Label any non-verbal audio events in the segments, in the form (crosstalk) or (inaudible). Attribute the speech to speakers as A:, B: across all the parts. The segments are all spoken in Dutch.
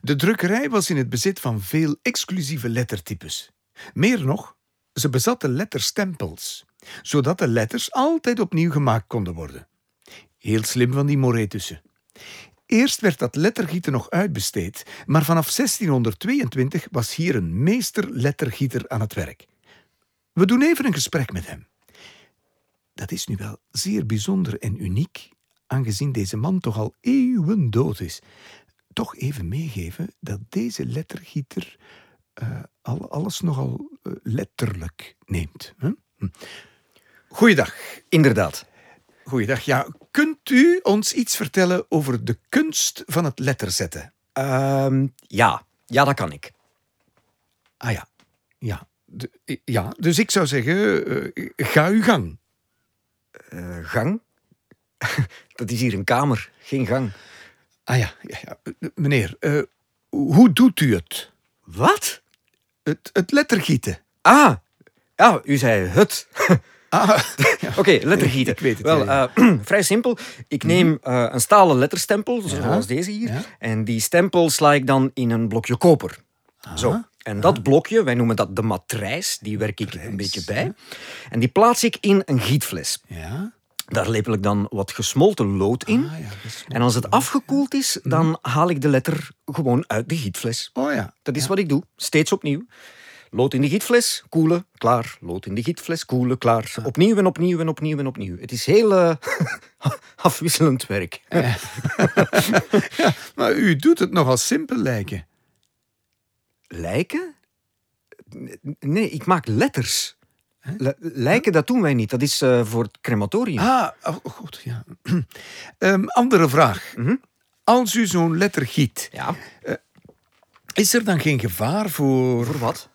A: De drukkerij was in het bezit van veel exclusieve lettertypes. Meer nog, ze bezatten letterstempels, zodat de letters altijd opnieuw gemaakt konden worden. Heel slim van die Moret tussen. Eerst werd dat lettergieten nog uitbesteed, maar vanaf 1622 was hier een meester lettergieter aan het werk. We doen even een gesprek met hem. Dat is nu wel zeer bijzonder en uniek, aangezien deze man toch al eeuwen dood is. Toch even meegeven dat deze lettergieter eh, al- alles nogal eh, letterlijk neemt. Hè? Hm. Goeiedag.
B: Inderdaad.
A: Goeiedag. Ja, kunt u ons iets vertellen over de kunst van het letterzetten?
B: Ehm, ja. ja, dat kan ik.
A: Ah ja, ja. De- ja, dus ik zou zeggen, eh, ga uw gang.
B: Eh, gang? (laughs) dat is hier een kamer, geen gang.
A: Ah ja, ja, ja. Eh, meneer, eh, hoe doet u het?
B: Wat?
A: Het, het lettergieten.
B: Ah, ja, u zei het. (laughs)
A: Ah,
B: Oké, lettergieten.
A: (laughs) Ik weet het,
B: Wel,
A: ja, Mhm.
B: eh, (clears throat) vrij simpel. Ik neem eh, een stalen letterstempel, zoals deze hier.
A: ja.
B: En die stempel sla ik dan in een blokje koper. Zo. En dat blokje, wij noemen dat de matrijs, die werk ik een beetje bij. En die plaats ik in een gietfles.
A: ja.
B: Daar lepel ik dan wat gesmolten lood in.
A: Ah, ja, dat is-
B: En als het afgekoeld is, dan haal ik de letter gewoon uit de gietfles.
A: Oh ja.
B: Dat is wat ik doe, steeds opnieuw. Lood in de gietfles, koelen, klaar. Lood in de gietfles, koelen, klaar. Opnieuw en opnieuw en opnieuw en opnieuw. Het is heel eh, (laughs) afwisselend werk.
A: ja. Maar u doet het nogal simpel lijken.
B: Lijken? Nee, ik maak letters. Le- lijken, dat doen wij niet. Dat is eh, voor het crematorium.
A: Ah, oh, goed, ja. (clears throat) Mhm. Ehm, andere vraag. Als u zo'n letter giet,
B: Ja,
A: is er dan geen gevaar voor
B: voor wat?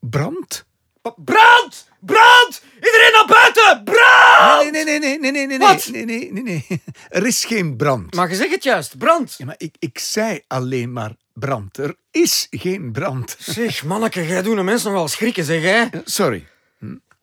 A: brand?
B: Brand! Brand! Iedereen naar buiten! Brand!
A: Nee, nee, nee, nee, nee, nee, nee,
B: Wat?
A: nee, nee, nee, nee. Er is geen brand.
B: Maar je zegt het juist, brand!
A: Ja, maar ik, ik zei alleen maar brand. Er is geen brand.
B: Zeg, manneke, jij doet de mensen nogal schrikken, zeg hè?
A: Sorry.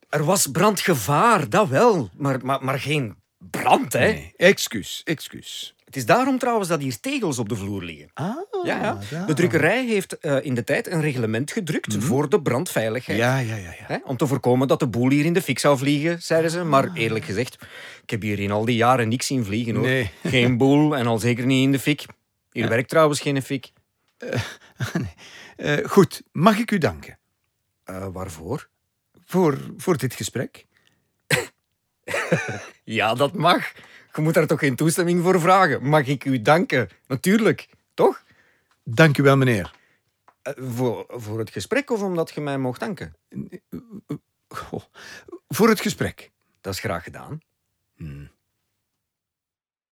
B: Er was brandgevaar, dat wel, maar, maar, maar geen brand, hè?
A: Nee, excuus, excuus.
B: Het is daarom trouwens dat hier tegels op de vloer liggen.
A: Ah,
B: Ja, ja.
A: daar.
B: De drukkerij heeft eh, in de tijd een reglement gedrukt voor de brandveiligheid.
A: Mhm. Ja, ja, ja. ja.
B: Hè, om te voorkomen dat de boel hier in de fik zou vliegen, zeiden ze. Maar eerlijk gezegd, ik heb hier in al die jaren niks zien vliegen hoor.
A: Nee.
B: Geen boel en al zeker niet in de fik. Hier werkt trouwens geen fik.
A: Eh, goed, mag ik u danken
B: Eh, waarvoor?
A: voor, voor dit gesprek?
B: Ja, dat mag. Je moet daar toch geen toestemming voor vragen? Mag ik u danken? Natuurlijk, toch?
A: Dank u wel, meneer.
B: Eh, voor, voor het gesprek of omdat je mij mocht danken?
A: Goh, voor het gesprek.
B: Dat is graag gedaan.